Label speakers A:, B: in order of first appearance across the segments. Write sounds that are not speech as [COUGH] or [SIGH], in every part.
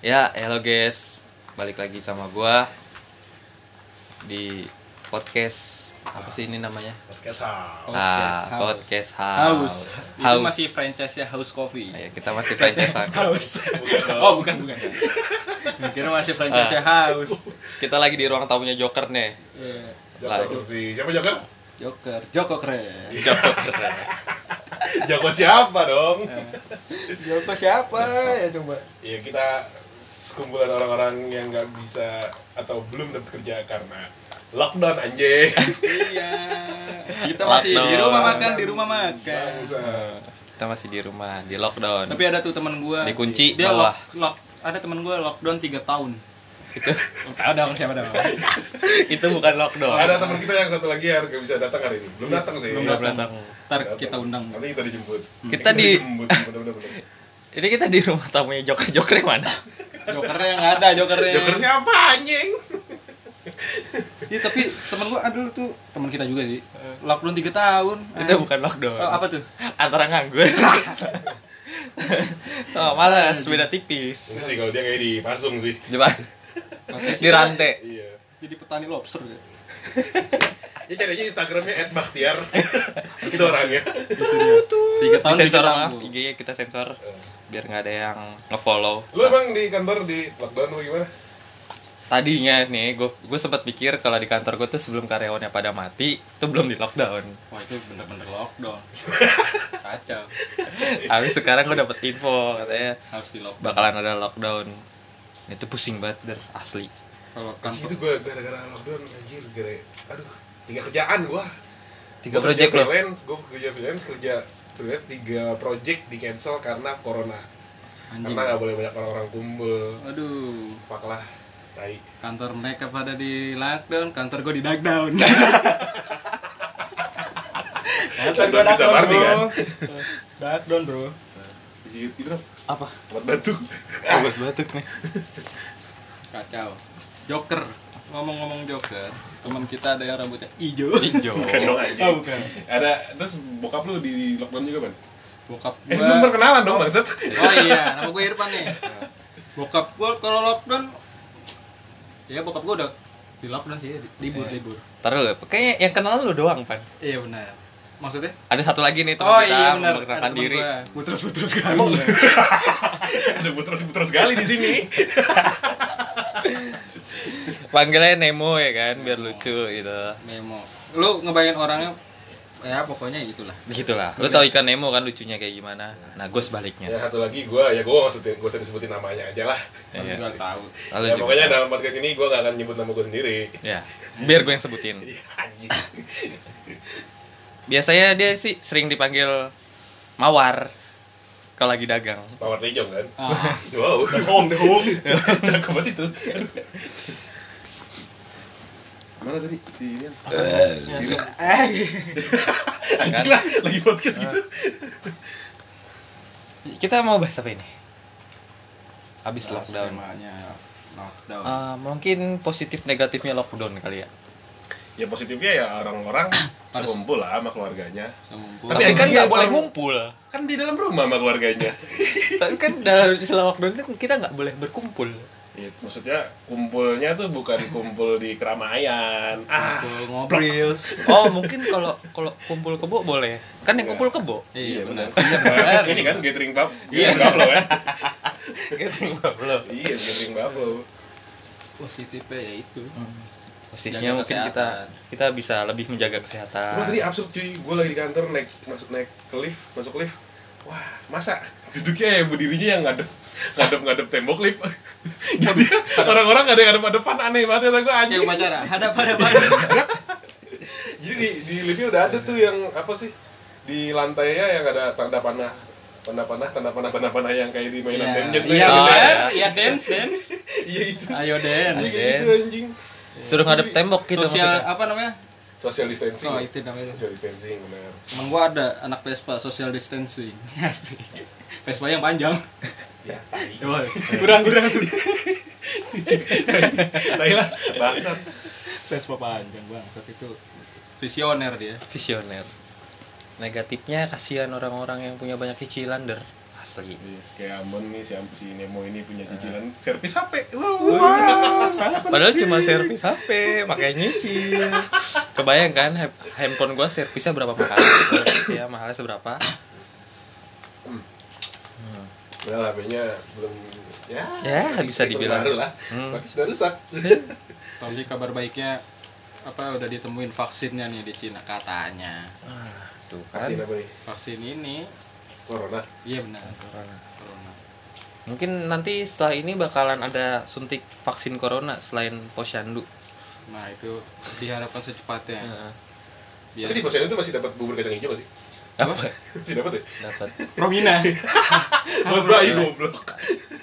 A: Ya, hello guys. Balik lagi sama gua di podcast apa sih ini namanya?
B: podcast
C: [LAUGHS]
B: Oh, house.
A: ah,
C: House.
A: podcast house.
C: House. Itu
A: House.
C: masih franchise nya House Coffee.
A: Ya, kita masih franchise
B: House.
C: Oh, bukan bukan.
A: Iya.
C: [LAUGHS] Kira
A: Ah.
C: masih franchise nya House.
A: Kita lagi di ruang tamunya Joker nih.
C: Iya.
B: Joker
A: Lah.
B: si siapa Joker?
C: Joker, Joko keren.
A: Joker.
B: Joko siapa dong?
C: Eh. Joko siapa ya coba?
B: Ya kita sekumpulan orang-orang yang nggak bisa atau belum dapat kerja karena lockdown
C: [LAUGHS]
B: anjing.
C: Iya. Kita masih di
A: Lockdown.
C: rumah makan, di rumah makan.
B: Bangsa.
A: kita masih di rumah, di lockdown.
C: Tapi ada tuh teman gua
A: Dikunci
C: dia
A: bawah.
C: lock, lock, ada teman gua lockdown 3 tahun.
A: itu
C: Tahu dong siapa dong.
A: itu bukan lockdown.
B: Ada teman kita yang satu lagi yang nggak bisa datang hari ini. Belum datang sih.
C: Iya, Belum
A: Belum
C: datang.
A: datang.
C: Ntar kita undang. Hmm.
B: Nanti kita dijemput.
A: Kita di- Eh.
B: dijemput. Bener, bener, bener.
A: Ini kita di rumah tamunya Joker. Joker yang mana?
C: Jokernya nggak ada, Jokernya.
B: Joker siapa anjing?
C: Iya tapi teman gua aduh tuh teman kita juga sih. Lockdown 3 tahun.
A: Itu bukan lockdown.
C: Oh, apa tuh?
A: Antara nganggur. oh, malas beda tipis.
B: Ini sih kalau dia kayak di pasung sih.
A: Coba di rantai.
B: Iya.
C: Jadi petani lobster ya.
B: Ya cari aja Instagramnya
C: [LAUGHS]
B: @bakhtiar. Itu orangnya.
C: Tiga tahun di
A: disensor
C: Jepang,
A: maaf
C: Bu.
A: IG-nya kita sensor biar nggak ada yang ngefollow
B: Lu emang di kantor di lockdown lu gimana?
A: tadinya nih gue gue sempat pikir kalau di kantor gue tuh sebelum karyawannya pada mati itu belum di
C: [LAUGHS]
A: lockdown
C: Wah itu bener-bener [LAUGHS] lockdown. Kacau.
A: habis sekarang gue dapet info katanya
C: Harus di lockdown.
A: bakalan ada lockdown itu pusing banget der asli
C: Kalau
B: Kan
A: Iya.
B: itu
C: kantor
B: gue gara-gara lockdown anjir gara aduh tiga kerjaan gue
A: tiga project lo
B: freelance gue kerja freelance kerja freelance tiga project di cancel karena corona
C: anjing.
B: karena nggak boleh banyak orang-orang kumpul
C: Aduh,
B: fuck lah tai
C: kantor mereka pada di lockdown, kantor gua di [LAUGHS] lockdown.
B: Nah,
C: kantor
B: Bisa
C: gua lockdown,
B: party, kan?
C: bro. Lockdown, bro.
B: Jadi itu dong,
A: apa
B: Iya, buat batuk
A: obat batuk nih
C: Kacau. Joker. Ngomong-ngomong Joker, teman kita ada yang rambutnya hijau.
A: hijau
B: bukan dong anjing
C: Oh, bukan.
B: ada terus bokap lu di lockdown juga kan
C: Bokap
B: eh
C: gua.
B: belum perkenalan dong [LAUGHS] maksud
C: Oh iya, nama gue Irfan nih. Bokap gue kalau lockdown ya bokap gue udah di lockdown sih, libur libur.
A: taruh lo kayaknya yang kenal lu doang pan
C: Eh. Iya benar. Maksudnya?
A: ada satu lagi nih teman
C: oh
A: kita
C: iya benar.
A: memperkenalkan diri kan.
C: Putus [LAUGHS] putus kamu.
B: ada putus putus sekali di sini
A: panggilnya Nemo ya kan biar lucu gitu
C: Memo. Lu ngebayangin orangnya ya pokoknya gitulah.
A: gitulah
C: Iya.
A: lu tau ikan Nemo kan lucunya kayak gimana nah gue sebaliknya
B: ya satu lagi gue ya gue maksudin gue usah disebutin namanya aja lah
C: Tapi
A: Iya.
C: gak [LAUGHS] tahu.
A: Lalu
B: ya,
A: juga-
B: pokoknya dalam podcast ini gue gak akan nyebut nama gue sendiri
A: Ya, biar gue yang sebutin.
B: Iya, anjing.
A: Biasanya dia sih sering dipanggil Mawar kalau lagi dagang.
B: Mawar Tejong kan?
C: Ah,
B: Wow. The home, the home. [LAUGHS] Cakep banget itu. Mana tadi si ini?
C: Eh.
B: Anjing lah, lagi podcast gitu.
A: Kita mau bahas apa ini? Abis lockdown.
C: Temanya lockdown.
A: Eh, mungkin positif negatifnya lockdown kali ya.
B: Ya positifnya ya orang-orang
C: Harus.
B: sekumpul lah sama keluarganya.
C: Ngumpul. Iya.
B: Tapi
A: Tapi, kan
B: anjing
A: nggak
B: ya,
A: boleh
B: kalau-
A: ngumpul.
B: Kan di dalam rumah sama [LAUGHS] keluarganya.
A: Tapi kan dalam selama lockdown itu kita nggak boleh berkumpul.
B: Ya, maksudnya kumpulnya tuh bukan kumpul di keramaian. Ah,
C: Ngumpul, ngobrol.
A: Oh mungkin kalau kalau kumpul kebo boleh. Kan yang kumpul kebo.
C: Iya benar.
B: benar. Ini kan gathering bab, iya bablo kan?
A: Gitu belum.
B: Iya, gathering bablo.
C: Positifnya ya itu.
A: Positifnya
C: Jaga
A: mungkin kita kita bisa lebih menjaga
B: Cuma tadi
A: kesehatan.
B: absurd cuy, gue lagi di kantor naik masuk naik ke lift, masuk lift. Wah, masa duduknya ya berdirinya yang ngadep ngadep ngadep tembok lift. [LAUGHS] Jadi orang-orang nggak ada yang ngadep ngadepan aneh banget ya gue anjing.
C: Yang pacara, hadap hadap hadap.
B: Jadi di, di liftnya udah ada tuh yang apa sih di lantainya yang ada tanda panah tanda panah tanda panah tanda panah yang kayak di mainan Dungeon tuh
C: Iya,
B: yang
A: Oh,
B: ada.
C: benar.
A: iya.
C: Iya, dance, dance.
B: ya. Iya itu.
C: Ayo
B: Iya
C: dance.
B: kayak gitu
A: Dance.
B: anjing.
A: Suruh ngadep tembok gitu
C: Sosial
A: maksudnya.
C: apa namanya?
B: Social distancing.
C: Oh, itu namanya.
B: Social distancing benar.
C: Emang gua ada anak Vespa social distancing. [LAUGHS] Asli. Vespa yang panjang.
B: Ya, tai.
C: Iya. Kurang-kurang.
B: tai
C: [LAUGHS]
B: lah. Bangsat.
C: Vespa panjang, Bang. Saat itu visioner dia.
A: visioner negatifnya kasihan orang-orang yang punya banyak cicilan der asli
D: Iya, kayak Amon nih si, Am- si Nemo ini punya cicilan servis HP.
C: Wah,
D: Wah, sangat
A: Padahal
D: penting.
A: cuma servis HP, makanya nyicil. Kebayang kan hap- handphone gua servisnya berapa mahal? ya mahalnya seberapa?
B: Ya HP-nya belum ya.
A: Ya, bisa dibilang.
B: Baru lah.
A: Hmm.
B: Tapi sudah rusak.
C: Tadi kabar baiknya apa udah ditemuin vaksinnya nih di Cina katanya.
A: Tuh kan.
B: Vaksin apa nih?
C: Vaksin ini
B: Corona.
C: iya benar corona.
A: Mungkin nanti setelah ini bakalan ada suntik vaksin corona selain posyandu.
C: Nah, itu diharapkan secepatnya.
A: Heeh.
C: Biar
D: Iya.
B: Tapi di posyandu itu masih dapat bubur kacang hijau nggak sih?
A: Apa?
B: Masih dapat ya?
A: Dapat.
C: [LAUGHS] Romina.
B: Buat
A: Iya.
B: bayi goblok.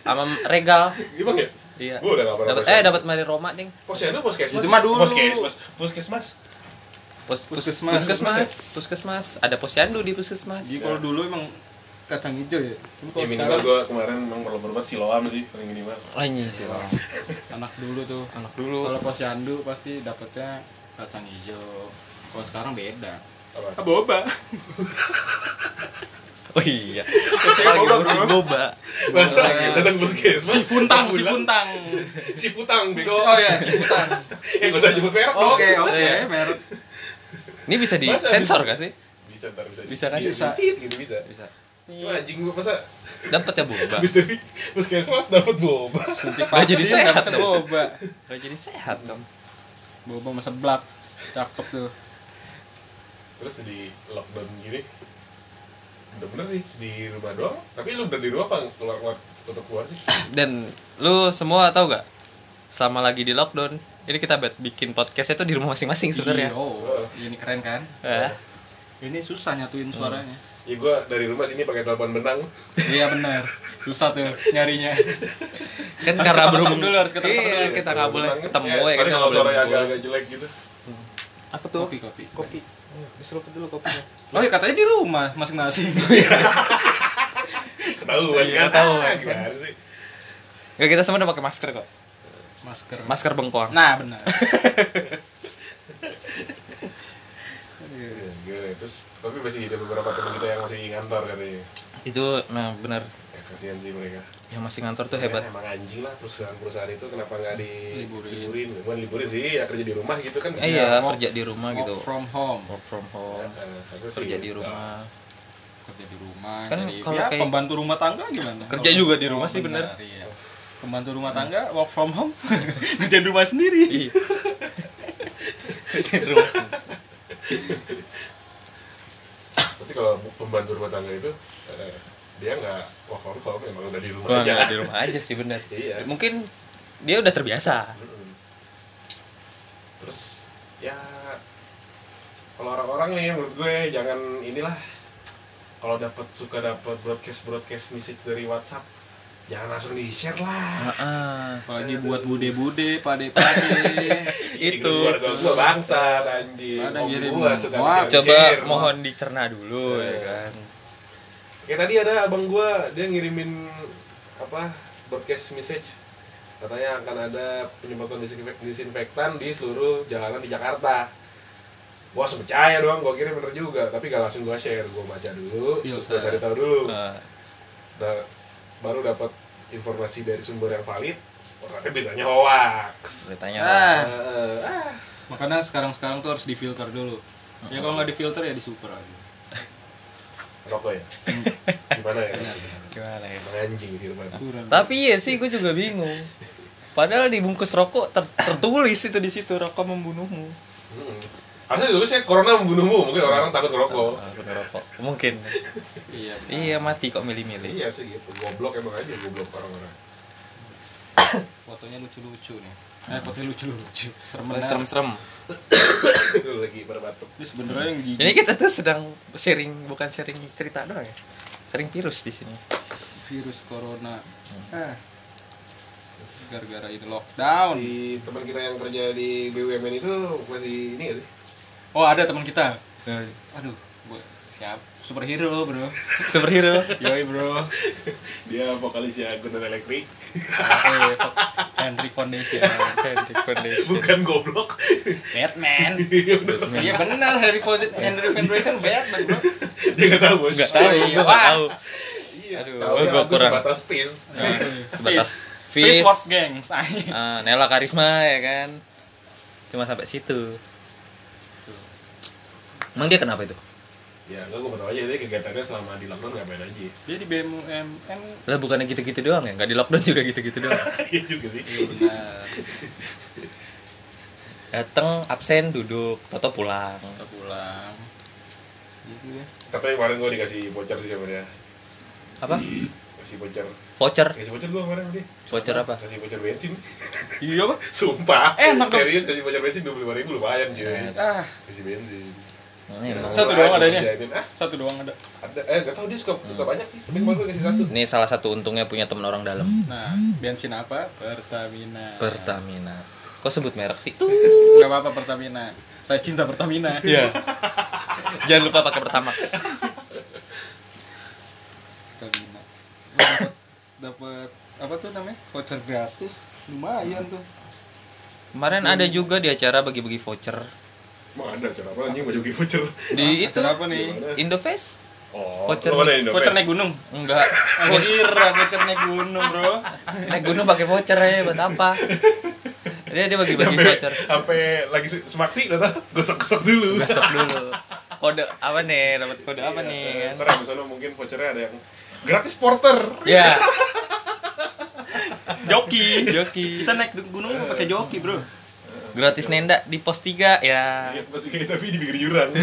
A: Sama regal.
B: Gimana ya?
A: Iya.
B: Gua udah nggak pernah
A: Dapat
B: posyandu.
A: eh dapat Mari Roma, Ding.
B: Posyandu ya? puskesmas.
C: Itu mah dulu.
D: Puskesmas, puskesmas.
A: Pus, pus-
C: Puskesmas.
A: Puskesmas. Puskesmas. Ada posyandu di puskesmas.
C: Jadi kalau dulu emang kacang hijau
B: Ya
C: ya. Tapi
D: Iya,
C: kalau
B: minimal
C: sekarang
B: gua kemarin memang perlu si siloam sih paling minimal.
A: Anjing Oh, iya sih. Bang.
C: anak dulu tuh.
A: Anak dulu.
C: Kalau posyandu pasti dapetnya kacang hijau. Kalau sekarang beda.
B: Apa?
C: Boba.
A: Oh iya. Lagi
B: boba,
A: musim
B: bro.
A: boba.
B: Masa datang puskesmas.
C: Si puntang, si
B: pulang.
C: puntang.
B: Si putang bego.
C: Oh ya,
B: [LAUGHS]
C: si puntang.
B: Eh enggak usah nyebut merek dong.
C: Oke, oke,
A: Iya.
C: merek.
A: Ini bisa di
B: Masa
A: sensor gak sih?
B: Bisa ntar bisa.
A: Bisa kan?
B: Iya,
A: Bisa.
B: tit, gitu bisa.
A: Bisa.
B: Cuma anjing gua masa
A: Dapat ya boba.
B: habis dari puskesmas dapat boba.
C: Suntik
A: Nggak jadi
C: vaksin,
A: sehat
C: dapetnya
A: dong.
C: Boba.
A: Gak jadi sehat dong.
C: Boba sama seblak. Cakep tuh.
B: Terus di lockdown gini udah bener nih di rumah doang. Tapi lu udah di rumah apa keluar keluar untuk keluar sih?
A: Dan lu semua tahu gak? Selama lagi di lockdown, ini kita buat bikin podcastnya tuh di rumah masing-masing sebenarnya.
C: Iya, Oh, ini keren kan?
A: Eh,
C: Ini susah nyatuin
A: Hmm.
C: suaranya.
B: Ya gua dari rumah sini pakai telepon benang.
C: Iya benar. Susah tuh nyarinya.
A: kan karena berhubung
C: dulu, harus ketemu
A: Iya,
C: dulu.
A: kita nggak boleh
B: Benang kan,
A: ketemu
B: eh,
A: ya,
B: sorry
A: kita
B: kalau
A: nggak boleh.
B: suaranya
A: ngumpul.
B: agak-agak jelek gitu.
A: Apa tuh?
C: Kopi, kopi.
A: Kopi. Diseruput dulu kopinya.
C: Oh ya katanya di rumah masing-masing.
B: Ketahuan
A: Iya,
B: kan?
A: ketahuan.
B: Ah, Gimana sih?
A: Gak kita semua udah pakai masker kok.
C: Masker.
A: Masker bengkoang.
C: Nah, benar.
B: Iya, gila. Terus tapi masih ada beberapa teman kita yang masih ngantor katanya.
A: Itu nah benar
B: Ya, kasihan sih mereka.
A: yang masih ngantor tuh hebat.
B: Ya, emang anjing lah perusahaan-perusahaan itu kenapa nggak
C: Liburin.
B: diliburin? Bukan liburin sih, ya kerja di rumah gitu kan.
A: Eh, iya,
C: work-
A: kerja di rumah
C: Work
A: gitu.
C: from home.
A: Work from
B: Eh,
A: home,
B: harusnya sih.
A: kerja di rumah.
C: Kerja di rumah.
A: Kan
C: jadi,
A: kalau
C: ya,
A: kayak-
C: pembantu rumah tangga gimana?
A: Kerja
C: Kalau-
A: juga di rumah sih, benar.
C: Iya. Pembantu rumah tangga work from home. [LAUGHS] Kerja di rumah sendiri.
A: Iya. Kerja di [LAUGHS] rumah.
B: Nah, Berarti kalau pembantu rumah tangga itu eh, dia nggak work from home, emang udah di rumah
A: Gua
B: aja.
A: nggak di rumah aja sih bener.
B: Iya.
A: Mungkin dia udah terbiasa.
B: Mm-mm. Terus ya kalau orang-orang nih menurut gue jangan inilah kalau dapat suka dapat broadcast broadcast message dari WhatsApp jangan langsung di share lah.
A: Heeh.
C: Apalagi buat bude-bude, pade-pade.
A: [LAUGHS] itu.
B: keluarga gue bangsa anjing.
C: Ada
B: Om
C: ngirim
B: gue suka
C: WhatsApp.
B: share-share.
A: Coba mohon dicerna dulu ya
B: Iya.
A: kan.
B: Kayak tadi ada abang gua dia ngirimin apa broadcast message katanya akan ada penyemprotan disinfek- disinfektan di seluruh jalanan di Jakarta. Gua langsung percaya doang, gua kira bener juga, tapi gak langsung gua share, gua baca dulu, terus gua cari tahu dulu.
A: Nah,
B: Nah, baru dapat informasi dari sumber yang valid, oh, ternyata beritanya hoax.
A: ceritanya
B: Eh,
C: Ah.
B: eh, ah,
C: Makanya sekarang-sekarang tuh harus difilter dulu. Ya kalau nggak difilter ya disuper aja.
B: rokok
A: [LAUGHS]
B: ya? Gimana ya?
A: gimana ya?
B: Emang anjing di rumah.
C: Kurang.
A: Tapi ya sih gue juga bingung. Padahal di bungkus rokok ter- tertulis itu di situ rokok membunuhmu.
B: Hmm. Harusnya dulu saya corona membunuhmu, mungkin orang-orang takut ngerokok.
A: Ah, bener rokok. Mungkin.
C: Iya. benar.
A: Iya mati kok milih-milih.
B: Iya sih gitu, goblok emang aja goblok orang-orang
C: Fotonya lucu-lucu nih. Eh, fotonya lucu-lucu. Serem
A: Mulai
C: banget.
A: Serem-serem.
B: Aduh, lagi berbatuk
C: Ini sebenarnya yang gigi.
A: Ini kita tuh sedang sharing bukan sharing cerita doang ya. Sharing virus di sini.
C: virus corona. Eh. Gara-gara ini lockdown.
B: Si teman kita yang kerja di BUMN itu masih ini gak sih?
C: Oh, ada teman kita.
A: Nah,
C: Aduh, gua siap superhero, Bro.
A: [LAUGHS] Superhero.
C: Yoi, [LAUGHS] Bro.
B: Dia ya, vokalisnya Gunan Elektrik
C: Eh, Henry Foundation.
A: Candy Foundation.
B: [LAUGHS] Bukan goblok
C: Batman. Iya benar, Henry Foundation, Henry Foundation Batman, Bro.
B: Dia gak tau bos
A: Gak tahu,
C: Oh, iya.
A: gue gak tahu.
B: Iya,
A: Aduh,
B: Tapi
A: gua
B: aku
A: kurang.
B: sebatas pis.
A: Sebatas Fish,
C: Fish World Gangs anjing.
A: ah, Nela Karisma ya kan. Cuma sampai situ. Emang dia kenapa itu?
B: Ya enggak gue tau aja dia kegiatannya selama di lockdown ngapain aja.
C: Dia di BMN
A: Lah bukannya gitu-gitu doang ya? Nggak di lockdown juga gitu-gitu [LAUGHS] doang.
B: [LAUGHS] Iya juga sih.
C: Nah,
A: Dateng absen duduk, toto pulang.
C: udah pulang. Gitu ya.
B: Tapi kemarin gue dikasih voucher sih sama dia.
A: Apa?
B: Kasih voucher.
A: Voucher?
B: Kasih voucher gue kemarin sama dia.
A: Voucher apa?
B: Kasih voucher bensin.
C: Iya apa?
B: Sumpah.
C: Eh, enak dong.
B: Serius kasih voucher bensin 25 ribu lumayan cuy.
A: Nah,
C: Ah,
B: Kasih bensin.
A: ini emang.
C: Satu doang adanya?
B: Jajanin. Ah,
C: satu doang ada.
B: ada. Eh gak tau dia suka, suka banyak
C: Hmm.
B: sih. Tapi kemarin gue kasih satu.
A: Ini salah satu untungnya punya temen orang dalam.
C: Nah, bensin apa? Pertamina.
A: Pertamina. Kok sebut merek sih? Tuh.
C: Gak apa-apa Pertamina. Saya cinta Pertamina.
A: Iya. Jangan lupa pakai Pertamax.
C: Pertamina. Dapat dapat apa tuh namanya? Voucher gratis. Lumayan tuh.
A: Kemarin ada juga di acara bagi-bagi voucher
B: Mau ada cara apa anjing mau jogi voucher.
A: di itu
C: Voucher apa nih?
A: Indofest?
B: Oh,
A: Voucher
B: lu mana
A: nih.
B: Indofest?
C: Voucher naik gunung.
A: Enggak.
C: Aku kira voucher naik gunung, Bro.
A: Naik gunung pakai voucher aja buat apa? Dia dia bagi-bagi
B: Sampai-
A: voucher.
B: Sampai lagi se- semaksi datang gosok-gosok dulu. [LAUGHS]
A: Besok dulu. Kode apa nih? Dapat kode apa nih
B: Eh,
A: kan?
B: Ntar abis itu mungkin vouchernya ada yang gratis porter.
A: Ya,
C: Joki.
A: joki.
C: Kita naik gunung pakai joki, Bro.
A: Gratis nenda di pos 3 ya.
B: Iya, pasti kayak tapi di pinggir jurang.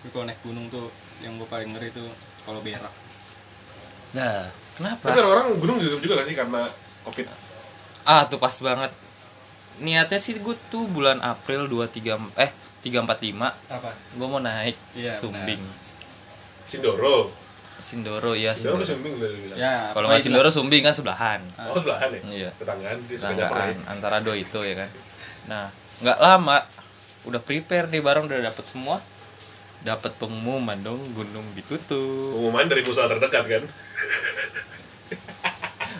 C: Tapi kalau naik gunung tuh yang gue paling ngeri tuh kalau berak.
A: Nah,
B: Tapi
A: kenapa?
B: orang gunung ditutup juga gak sih karena covid?
A: Ah, tuh pas banget. Niatnya sih gue tuh bulan April 23 eh 345
C: Apa?
A: gue mau naik
C: Iya,
A: Sumbing.
B: Sindoro.
A: Sindoro ya Sindoro.
B: Sindoro tuh sumbing udah bilang.
C: Ya.
A: Kalau nggak
C: baiklah.
A: Sindoro Sumbing kan sebelahan.
B: Oh sebelahan ya?
A: Iya.
B: Tetanggaan dia suka nyaper ya.
A: Tanggaan antara do itu ya kan. Nah, nggak lama udah prepare nih barang udah dapet semua. Dapat pengumuman dong gunung ditutup.
B: Pengumuman dari musola terdekat kan?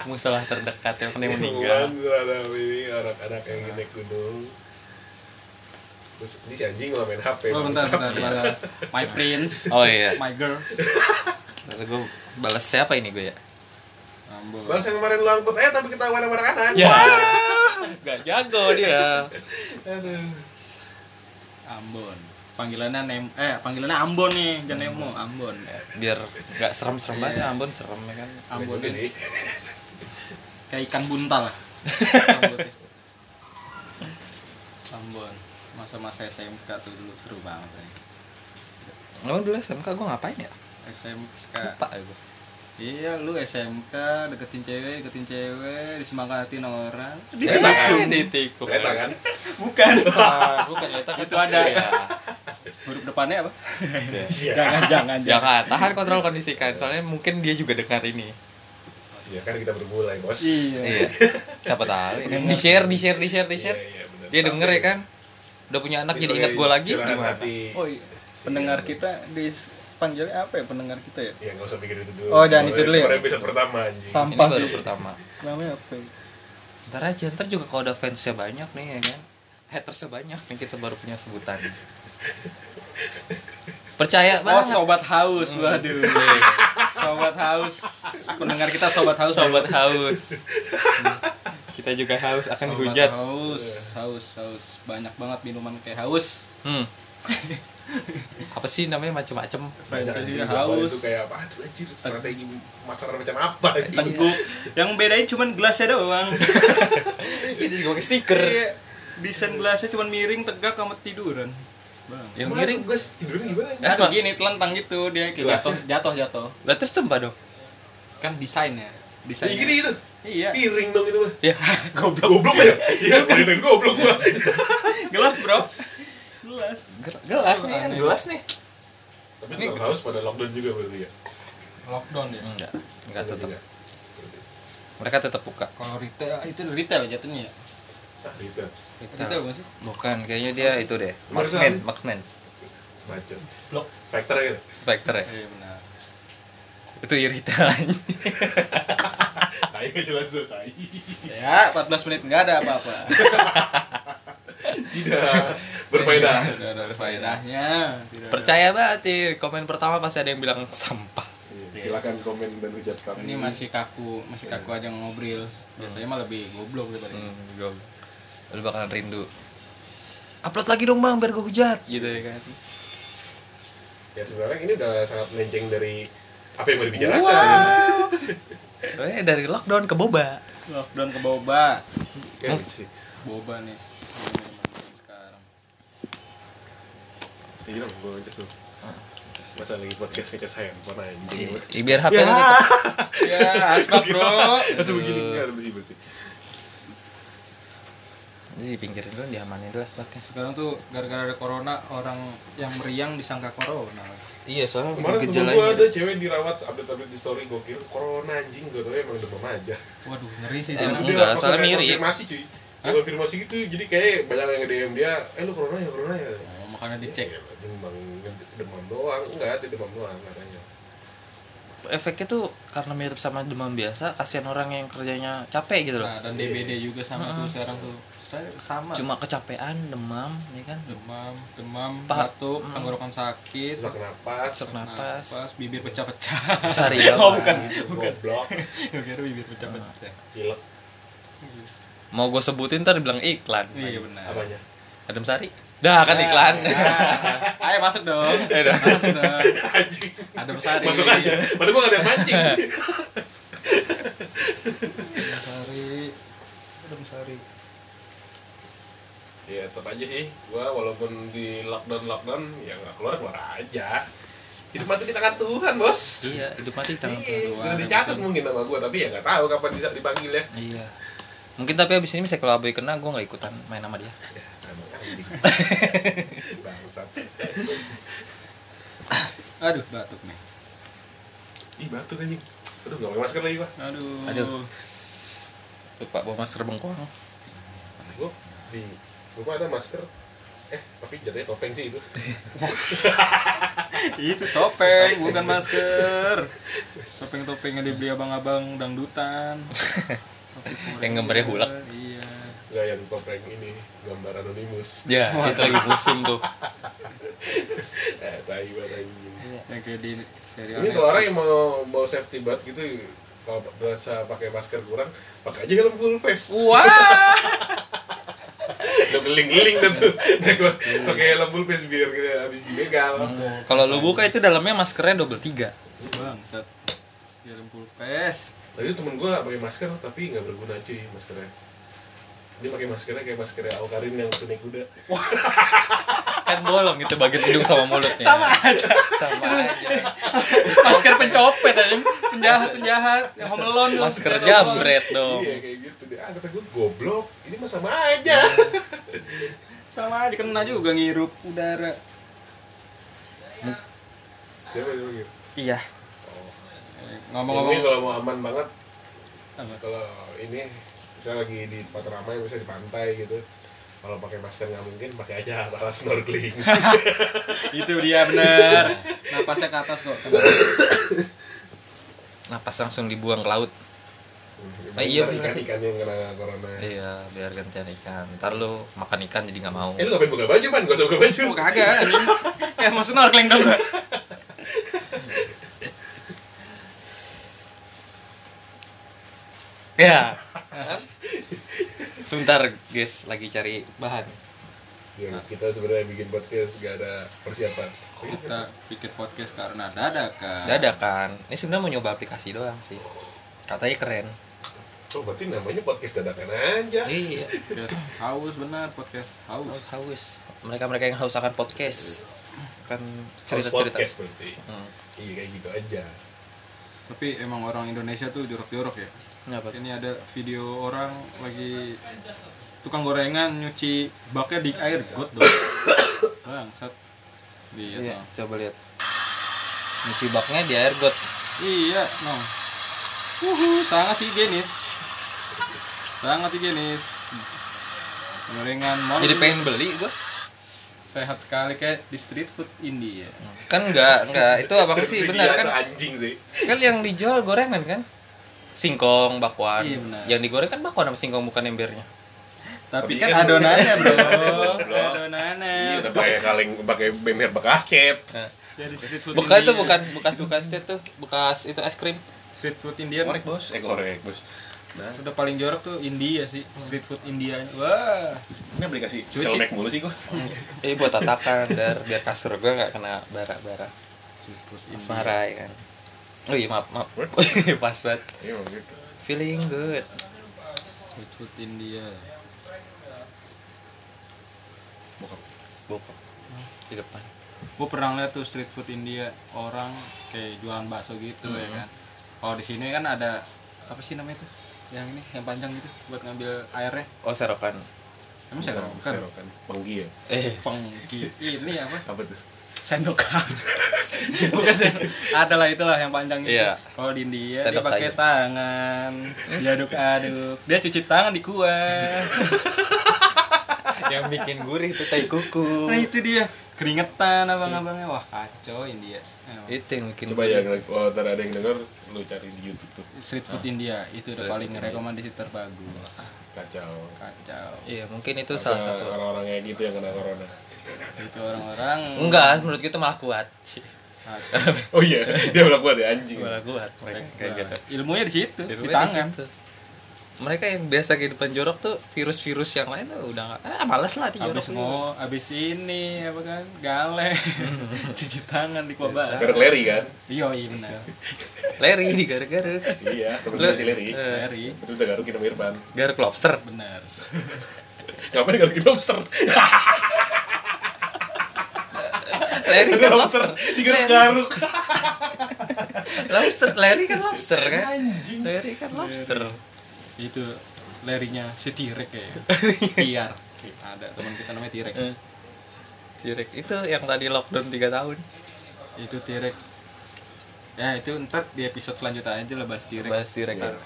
A: Musola terdekat yang pernah meninggal.
B: Pengumuman terhadap ini anak-anak yang naik gunung. Terus ini si anjing malah main HP.
C: Oh, bentar, bentar,
B: bangsat.
C: bentar. My prince,
A: Oh iya.
C: my girl.
A: Lalu gue balas siapa ini gue ya?
C: Ambul.
B: Balas yang kemarin lu angkut eh tapi ketahuan sama anak-anak.
A: Ya. Gak jago dia.
B: Aduh.
C: Ambon. Panggilannya Nem eh panggilannya Ambon Ya, nih, jangan Nemo, Ambon.
A: Biar gak serem-serem banget
C: Iya.
A: Ambon serem ya kan.
C: Ambon
B: Juga
C: ini
B: sih.
C: kayak ikan buntal [LAUGHS] lah. Rambutnya. Ambon. Masa-masa SMK tuh dulu seru banget nih.
A: Emang dulu SMK gue ngapain ya?
C: SMK.
A: Lupa ya gue.
C: Iya, lu SMK deketin cewek, deketin cewek, disemangatin orang.
A: Enak kan? Ditikung.
B: Enak kan?
C: Bukan.
A: Wah, bukan ternyata kan
C: Itu ada.
A: Ya.
C: Huruf depannya apa?
B: Iya.
C: jangan, jangan, jangan.
A: Jangan Ya tahan kontrol kondisi kan. Soalnya mungkin dia juga dengar ini.
B: Iya kan kita bermulai bos.
C: Iya.
A: Iya. Siapa tahu. Di share, di share, di share, di share.
B: Iya, iya, bener.
A: Dia denger ya kan. Udah punya anak jadi ingat gue lagi
B: Curahan
A: gimana?
B: hati.
C: Oh iya. Pendengar kita di panggilnya apa ya pendengar kita ya?
B: Ya nggak usah pikir itu dulu.
C: Oh, jangan disitu dulu ya?
B: Kemarin episode pertama anjing.
A: Ini
C: Sam- Sampah
A: baru
C: sih.
A: pertama.
C: Namanya apa? ya?
A: Ntar aja, ntar juga kalau ada fansnya banyak nih ya kan Hatersnya banyak nih kita baru punya sebutan Percaya
C: Oh,
A: banget
C: sobat haus, waduh. sobat haus. Pendengar kita sobat haus. ya?
A: Sobat haus Hmm. Kita juga haus akan
C: Sobat
A: dihujat
C: haus, haus, haus. Banyak banget minuman kayak haus.
A: hmm. Apa sih namanya macem-macem
B: Banyak anjing di
C: Franchise-nya
B: awal
C: haus.
B: Itu kayak gitu. apa? Aduh anjir, strategi masalah macam apa? anjing?
C: Teguk. Yang bedanya cuman gelasnya doang.
A: Kita juga pakai stiker
C: Iya. Desain gelasnya cuman miring, tegak sama tiduran. Bang.
A: Yang
B: Kemarin
A: miring
B: Gue tidurnya gimana? anjing?
C: Nah, begini telentang gitu dia kayak jatuh,
B: Gelasnya?
C: jatuh, jatuh.
A: Lah terus tembak dong
C: Kan desainnya.
B: Ya,
C: Desainnya.
B: gini gitu.
C: Iya.
B: Piring dong itu mah.
A: Ya
B: Goblok. Goblok ya? Iya, piring goblok gua.
C: Gelas, Bro. Gelas.
A: Gelas nih kan Gelas nih
B: Tapi ini haus pada lockdown juga berarti ya. Iya.
C: Lockdown ya.
A: Enggak Enggak tetep Mereka tetap buka
C: Kalau retail ah, itu retail jatuhnya ya.
B: Ah, gitu.
C: Retail bukan sih?
A: Bukan kayaknya dia itu deh
B: Barusan.
A: Markman Markman
B: Macet.
C: Blok.
B: Factor gitu.
A: Factor ya
C: Iya benar.
A: Itu iritan
B: Tai gak jelas tuh, tai.
C: Ya, 14 menit nggak ada apa-apa.
B: Tidak.
D: berfaedah
A: Iya.
C: Tidak ada faedahnya. Tidak ada.
A: Nah, Percaya banget sih, komen pertama pasti ada yang bilang sampah.
B: Iya, silakan komen dan hujat kami
C: Ini masih kaku, masih kaku aja ngobrol. Biasanya mah lebih goblok daripada ini.
A: Hmm, gua- Lu bakalan rindu. Upload lagi dong bang, biar gue hujat gitu ya kan.
B: ya sebenarnya ini udah sangat melenceng dari apa yang mau dibicarakan
A: Eh dari lockdown ke boba.
E: Lockdown ke boba.
B: ya gitu sih
C: Boba nih. Ini Sekarang.
B: ya gitu gue ngecas dulu masa lagi podcast ngecas handphone anjing
A: Ih, Iya, biar HP lu tetep-
C: Ya, asbak bro.
B: [LAUGHS] langsung begini
A: Iya.
B: nggak bersih bersih
A: Jadi di pinggirin Iya, dulu diamanin dulu asbaknya.
C: Sekarang tuh gara-gara ada corona orang yang meriang disangka corona.
A: Iya, soalnya
B: kemarin temen gue
A: ya.
B: ada cewek dirawat update update di story gokil corona anjing gak tau ya, emang demam aja
C: Waduh, ngeri sih.
A: Eh,
C: sana.
A: enggak, soalnya mirip.
B: konfirmasi cuy Dia konfirmasi gitu jadi kayak banyak yang DM dia eh lu corona ya corona ya
C: Oh, makanya dicek.
B: Ya, demam demam doang enggak dia demam doang katanya
A: efeknya tuh karena mirip sama demam biasa, kasihan orang yang kerjanya capek gitu loh.
C: Nah, dan DBD juga sama tuh sekarang tuh. Saya
B: Nah.
C: sama.
A: Cuma kecapean, demam, ya kan.
C: demam, demam,
A: Pa-
C: batuk, tenggorokan sakit,
B: sesak napas [LAUGHS]
A: Sesak
B: Nah.
A: napas,
C: napas, bibir pecah-pecah. [LAUGHS]
A: [LAUGHS] cari
C: Oh, bukan.
A: [LAUGHS]
B: goblok
C: Gua kira bibir pecah-pecah.
B: pilek
A: Mau gue sebutin ntar dibilang iklan.
C: Iya benar.
B: apanya
A: Adem Sari. Dah kan iklan.
C: Ah, [LAUGHS] [LAUGHS] Ayo masuk dong. Masuk [LAUGHS] dong.
B: anjing
C: Ada besar
B: masuk aja padahal gue gak ada yang mancing
A: [LAUGHS]
E: Sari. Adem Sari.
B: ya tetap aja sih gua walaupun di lockdown lockdown ya nggak keluar keluar aja hidup mati di tangan Tuhan bos
A: iya, hidup mati tangan Tuhan.
B: Iya, sudah dicatat mungkin sama gua tapi ya nggak tahu kapan bisa dipanggil ya
A: [LAUGHS] Iya. Mungkin tapi abis ini bisa kalau abai kena gue nggak ikutan main sama dia.
B: Ya,
A: [LAUGHS]
B: emang anjing. bangsat
C: Aduh, batuk nih.
B: ih batuk anjing aduh nggak pakai masker lagi gua
C: Aduh.
A: Aduh. Lupa bawa masker bengkoang.
B: gua di gua ada masker eh tapi jadinya topeng sih itu
C: Itu topeng, bukan masker. Topeng-topeng yang dibeli abang-abang dangdutan. Topeng kulit.
A: Yang gambarnya hulak.
C: Iya.
B: nggak yang topeng ini gambar anonimus
A: Ya, itu lagi musim tuh.
B: [LAUGHS] eh tai banget anjing
C: Yang kayak di serial.
B: Ini eh? kalau orang yang mau mau safety banget gitu kalau berasa pakai masker kurang, pakai aja helm full face.
C: Wah.
B: Udah geling-geling dah tuh. Nah, gua pakai helm full face biar kita habis dibegal.
A: Kalau lu buka itu dalamnya maskernya double tiga.
C: Bangsat. Film pulpes.
B: Tadi temen gua pakai masker tapi nggak berguna cuy maskernya. Dia pakai maskernya kayak maskernya Aukarin yang waktu naik kuda.
A: Kan bolong itu bagian hidung sama mulutnya. Sama aja. Sama [LAUGHS] aja.
C: Masker pencopet aja. Penjahat-penjahat yang home alone.
A: Masker jambret dong.
B: Iya kayak gitu dia. Ah kata gua goblok. Ini mah sama aja.
C: Sama aja kena juga ngirup udara.
B: Siapa yang gitu?
A: Iya.
B: Ini
C: Eh, Ngomong-ngomong
B: kalau mau aman banget
C: Apa?
B: kalau ini saya lagi di tempat ramai misalnya di pantai gitu kalau pakai masker nggak mungkin pakai aja
A: [LAUGHS]
B: alas snorkeling
C: itu dia benar. Napasnya ke atas kok.
A: Napas langsung dibuang ke laut. Ah,
B: Hmm,
A: iya, bener
B: ikan
A: sih.
B: ikan yang kena corona
A: Iya, biar gantian ikan. Ntar lu makan ikan jadi nggak mau.
B: eh lu ngapain buka baju man gak usah buka baju
C: Oh kagak anjing. Ya mau snorkeling dong. Bro.
A: Ya. Sebentar, guys, lagi cari bahan.
B: ya, kita sebenarnya bikin podcast gak ada persiapan Iya.
C: Kita bikin podcast karena dadakan.
A: Dadakan. kan. Ini sebenarnya mau nyoba aplikasi doang sih. Katanya keren.
B: oh berarti namanya podcast dadakan aja
A: Iya.
C: Podcast haus benar, podcast haus.
A: Haus. Mereka-mereka yang haus akan podcast. Kan
B: House
A: cerita-cerita.
B: podcast berarti
A: Hmm.
B: iya kayak gitu aja
C: Tapi emang orang Indonesia tuh jorok-jorok ya.
A: Kenapa? tuh?
C: Ini ada video orang lagi tukang gorengan nyuci baknya di air got dong. Bangsat. Lihat
A: Iya,
C: dong.
A: coba lihat. Nyuci baknya di air got.
C: Iya, dong. Uhu, sangat higienis. Sangat higienis. Gorengan mau
A: Jadi pengen beli gua.
C: sehat sekali kayak di street food India.
A: Kan enggak, enggak. Itu abang sih
B: Itu
A: benar
B: dia
A: kan?
B: tuh anjing sih
A: Kan yang dijual gorengan kan? Singkong, bakwan.
C: Iya, benar.
A: Yang digoreng kan bakwan sama singkong bukan embernya.
B: Tapi
C: Tapi kan
B: kan-
C: adonannya bro,
B: Bro.
C: adonannya.
B: Iya, udah pakai kaleng pakai bemer bekas cat.
A: Nah,
C: Jadi street food
A: bukan
C: India.
A: tuh bukan bekas bekas cat tuh bekas itu es krim
C: Street food India
B: Korek bos, eh korek bos. Nah,
C: sudah paling jorok tuh India sih, street food India. Wah,
B: ini apa dikasih
C: Cuci.
B: celemek mulu sih gua.
A: eh buat tatapan dar biar kasur gue nggak kena bara-bara
C: Iya.
A: asmara ya kan oh iya maaf maaf
B: What?
A: [LAUGHS] pas banget
B: Iya, emang gitu.
A: feeling good
C: street food India.
B: Bokap.
A: bokap di depan
C: Gue pernah lihat tuh street food India orang kayak jualan bakso gitu ya
A: Hmm.
C: kan. Kalau di sini kan ada apa sih namanya tuh? Yang ini yang panjang gitu buat ngambil airnya.
A: oh serokan kan?
C: Emang saya bukan.
B: Serokan. Penggi ya.
A: eh [LAUGHS]
C: Pengki. Ini apa?
B: Apa tuh?
C: sendokan [LAUGHS] bukan sendok adalah itulah yang panjang itu
A: Iya.
C: kalau di India
A: Sendok
C: dia pakai
A: sayur.
C: tangan diaduk-aduk dia cuci tangan di
A: [LAUGHS]
C: kuah
A: yang bikin gurih itu tai kuku
C: nah itu dia keringetan abang-abangnya wah kacau India Emang.
A: itu yang bikin
B: Coba ya, kalau ntar ada yang denger, lu cari di YouTube tuh.
C: street food India itu
A: Ah.
C: udah
A: Street
C: paling
A: food India. Ah.
C: rekomendasi terbagus
B: Kacau.
C: kacau
A: iya mungkin itu salah
B: Kacau
A: satu
B: Orang-orang kayak gitu yang kena corona. [LAUGHS]
C: itu orang-orang
A: enggak menurut kita malah kuat Ci. [LAUGHS]
C: kacau.
B: Oh iya, [LAUGHS] dia malah kuat ya anjing.
A: malah kuat mereka kayak gitu
C: ilmunya di situ
A: Di
C: di
A: rumah
C: tangan
A: di situ. mereka yang biasa kehidupan jorok tuh virus-virus yang lain tuh udah nggak ah males lah di jorok
C: abis mau abis ini apa kan galeh
A: Hmm.
C: [LAUGHS] cuci tangan di kuah bakso
B: Gerak leri kan?
C: iya iya benar
A: Leri di gara-gara
B: Iya, temen gue masih leri.
A: eh.
C: Ferry
B: Itu udah garuk minum irban.
A: garuk [LAUGHS] lobster
C: benar
B: Ngapain garukin
A: [LAUGHS]
B: lobster?
A: Leri kan
B: lobster
A: lobster
B: digaruk-garuk.
A: lobster Leri kan lobster kan Leri kan lobster
C: itu larinya si T-Rex
A: [LAUGHS]
C: ya tiar ada teman kita namanya T-Rex
A: Eh. Direk itu yang tadi lockdown 3 tahun
C: itu T-Rex ya itu ntar di episode selanjutnya aja lah bahas T-Rex
A: bahas Direk
B: Iya.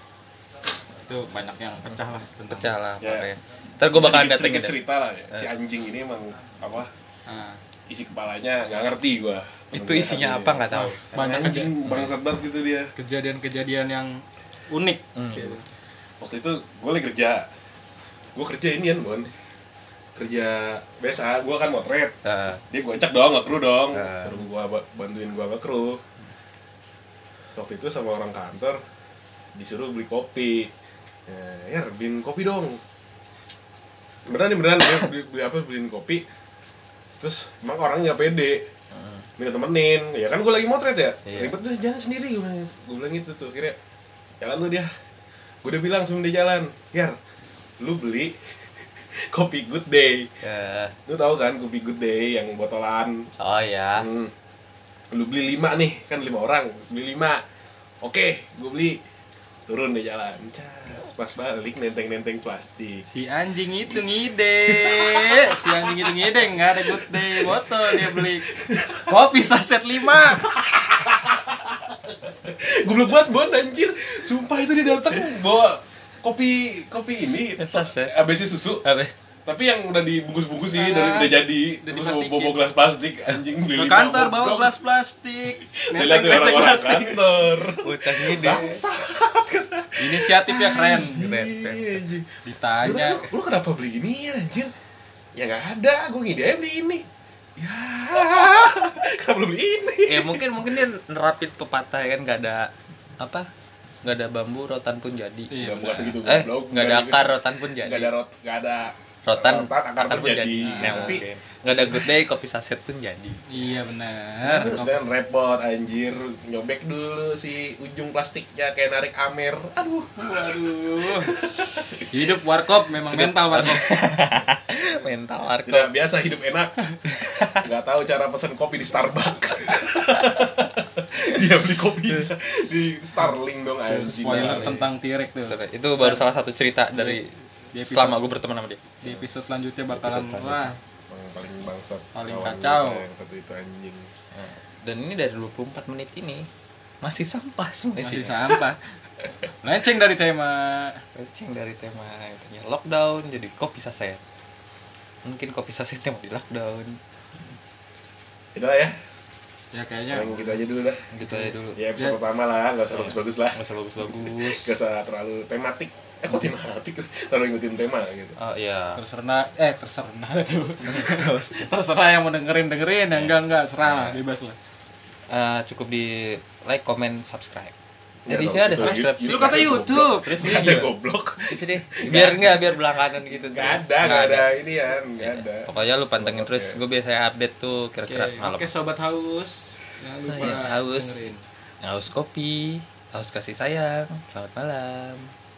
C: itu banyak yang pecah lah tentang
A: pecah lah
B: Ya.
A: makanya ntar gue bakal Eh.
B: Sedikit-
A: datengin
B: sedikit
A: deh.
B: cerita lah ya. Si anjing ini emang apa?
C: Ah,
B: Isi kepalanya nggak ngerti gua.
A: itu isinya apa nggak Iya, tahu
C: banyak aja
B: Anjing bangsat banget gitu dia.
C: kejadian-kejadian yang unik
A: Hmm.
C: Gitu.
B: Waktu itu gue lagi kerja. Gue kerja ini kan, Bon. Kerja biasa, gua kan motret.
A: Ah,
B: dia gocak dong ngekru dong
A: Nah.
B: suruh gua ba- bantuin gua ngekru waktu itu sama orang kantor disuruh beli kopi Eh, ya bin kopi dong beneran nih beneran dia beli, beli apa beliin kopi terus emang orangnya nggak pede minta temenin ya kan gua lagi motret ya
A: Hmm. Iya.
B: ribet deh jalan sendiri gue bilang, Gua bilang gitu tuh akhirnya jalan tuh dia gue udah bilang sebelum dia jalan ya lu beli [LAUGHS] kopi good day
A: ya.
B: lu tahu kan kopi good day yang botolan
A: oh ya
B: Hmm. Lu beli lima nih, kan lima orang, beli lima. Oke, gue beli. Turun di jalan. Cas, Pas balik nenteng-nenteng plastik. [LAUGHS]
C: si anjing itu ngide [LAUGHS] si anjing itu ngide nggak ada good day botol dia beli kopi saset lima
B: Gue banget bon anjir. Sumpah itu dia datang bawa kopi kopi ini
C: Eh, ya?
A: Saset.
B: ABC susu
A: apa
B: tapi yang udah dibungkus-bungkusin
C: Ah,
B: udah, udah jadi
C: udah
B: terus
C: diplastikin.
B: bawa, bawa gelas plastik anjing
C: ke
B: beli lima,
C: kantor bawa
B: bodoh.
C: gelas plastik
B: Dia lihat
C: neteng
B: tuh
C: pesek
B: orang-orang kan.
C: plastik
B: kantor
A: bocah ngide
C: inisiatif ya keren
A: Keren, keren.
B: Iya, anjing. Lu,
C: ditanya
B: lu- lu kenapa beli ginian anjir? Ya nggak ada, gue ngide aja beli ini. Ya, [LAUGHS] kenapa lu beli ini?
A: ya mungkin mungkin dia nerapin pepatah ya kan nggak ada apa nggak ada bambu rotan pun jadi
B: Nggak, bukan begitu,
A: eh
B: Iya, goblok.
A: nggak ada akar rotan pun jadi
B: Nggak ada rot, nggak ada
A: rotan
B: akar pun jadi.
A: Nah,
B: Tapi
A: mungkin. nggak ada good day kopi saset pun
B: [LAUGHS]
A: jadi
C: iya
A: Nah,
C: benar
B: terus dan repot anjir nyobek dulu si ujung plastiknya kayak narik amer. Aduh,
C: waduh hidup warkop memang mental warkop
A: mental warkop
B: tidak biasa hidup
A: [LAUGHS]
B: enak. Nggak tahu cara pesan kopi di Starbucks. [LAUGHS] Dia beli kopi di, di Starling dong anjing.
C: [LAUGHS] spoiler tentang T-Rex tuh
A: itu baru salah satu cerita dari
C: Di episode-
A: selama gue berteman sama dia
C: di episode selanjutnya bakalan
A: Episode selanjutnya.
C: wah
B: Emang paling bangsat.
C: Paling
B: Kawan
C: kacau.
B: gua Yang satu itu anjing.
A: dan ini dari 24 menit ini masih sampah semua
C: masih
A: isinya
C: sampah melenceng dari tema
A: Kencing dari tema yang tadinya lockdown jadi kopi saset mungkin kopi sasetnya mau di lockdown
B: Itu lah ya.
C: ya kayaknya
B: Paling gitu aja dulu dah.
A: gitu aja dulu
B: Ya episode
C: Ya.
B: pertama lah, nggak usah bagus-bagus lah.
A: nggak usah bagus-bagus
B: Nggak usah terlalu tematik. Eh kok tematik? [LAUGHS] Terlalu ngikutin tema gitu.
A: oh iya
C: terserah eh terserah [LAUGHS] tuh terserah yang mau dengerin dengerin yang enggak enggak serah lah bebas lah
A: Eh, cukup di like comment subscribe
B: Ya,
A: jadi
B: dong,
A: sini ada
B: itu
A: subscribe
B: YouTube.
A: sih.
B: Lu kata YouTube.
A: terus ini
B: Nggak ada
A: gimana?
B: goblok.
A: Isi deh. biar enggak biar belakangan gitu
B: Nggak
A: terus.
B: ada, nggak ada
A: Nggak
B: ini ya, nggak ada.
A: pokoknya lu pantengin
B: Oke.
A: terus gue biasanya update tuh kira-kira malam
C: oke sobat haus jangan lupa
A: Saya haus.
C: dengerin.
A: haus kopi haus kasih sayang selamat malam